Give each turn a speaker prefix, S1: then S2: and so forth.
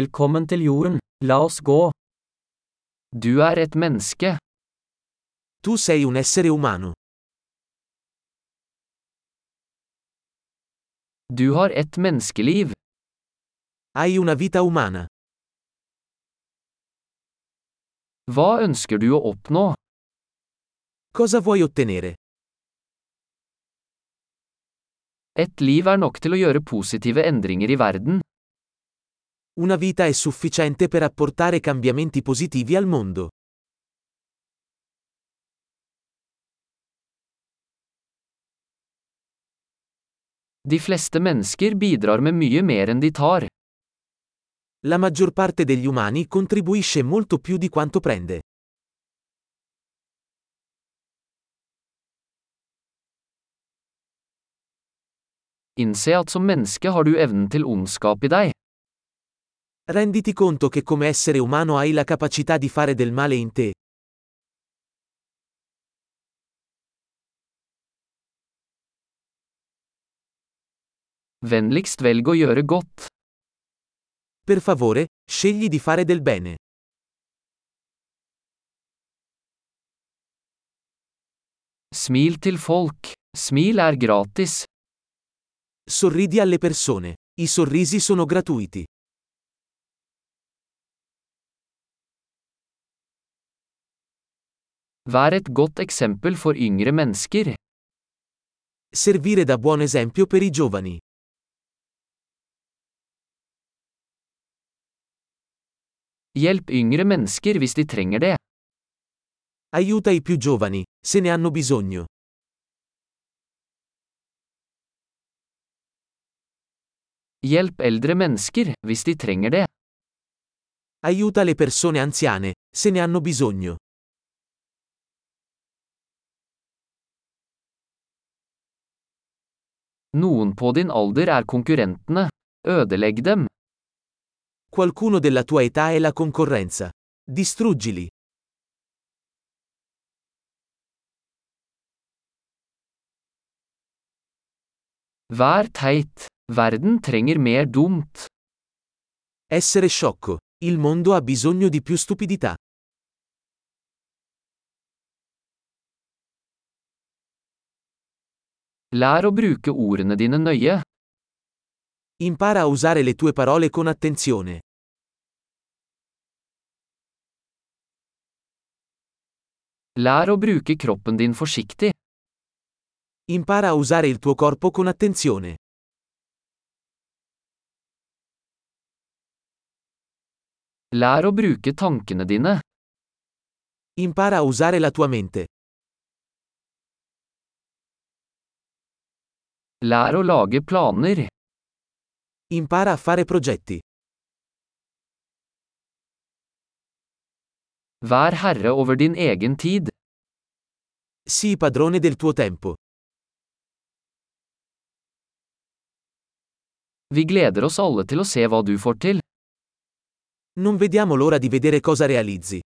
S1: Velkommen til jorden, la oss gå. Du er et menneske.
S2: Tu sei un essere umano.
S1: Du har et menneskeliv.
S2: Hai una vita umana.
S1: Hva ønsker du å oppnå?
S2: Cosa vuoi ottenere?
S1: Et liv er nok til å gjøre positive endringer i verden.
S2: Una vita è sufficiente per apportare cambiamenti positivi al mondo.
S1: De fleste mennesker bidrar med mye mer enn de tar.
S2: La maggior parte degli umani contribuisce molto più di quanto prende.
S1: Innse at som menneske har du evnen til ondskap i deg.
S2: Renditi conto che come essere umano hai la capacità di fare del male in te.
S1: Vennligst velg å gjøre godt.
S2: Per favore, scegli di fare del bene.
S1: Smil til folk. Smil er gratis.
S2: Sorridi alle persone. I sorrisi sono gratuiti.
S1: Vær et godt eksempel for yngre mennesker.
S2: Servire da buon esempio per i giovani.
S1: Hjelp yngre mennesker hvis de trenger det.
S2: Aiuta i più giovani, se ne hanno bisogno.
S1: Hjelp eldre mennesker hvis de trenger det.
S2: Aiuta le persone anziane, se ne hanno bisogno.
S1: Noen på din alder er konkurrentene. Ødelegg dem.
S2: Qualcuno della tua età è la concorrenza. Distruggili.
S1: Vær teit. Verden trenger mer dumt.
S2: Essere sciocco. Il mondo ha bisogno di più stupidità.
S1: Lær å bruke ordene dine nøye.
S2: Impara a usare le tue parole con attenzione.
S1: Lær å bruke kroppen din forsiktig.
S2: Impara a usare il tuo corpo con attenzione.
S1: Lær å bruke tankene dine.
S2: Impara a usare la tua mente.
S1: Lær å lage planer.
S2: Impara a fare progetti.
S1: Vær herre over din egen tid.
S2: Sii padrone del tuo tempo.
S1: Vi gleder oss alle til å se hva du får til.
S2: Non vediamo l'ora di vedere cosa realizzi.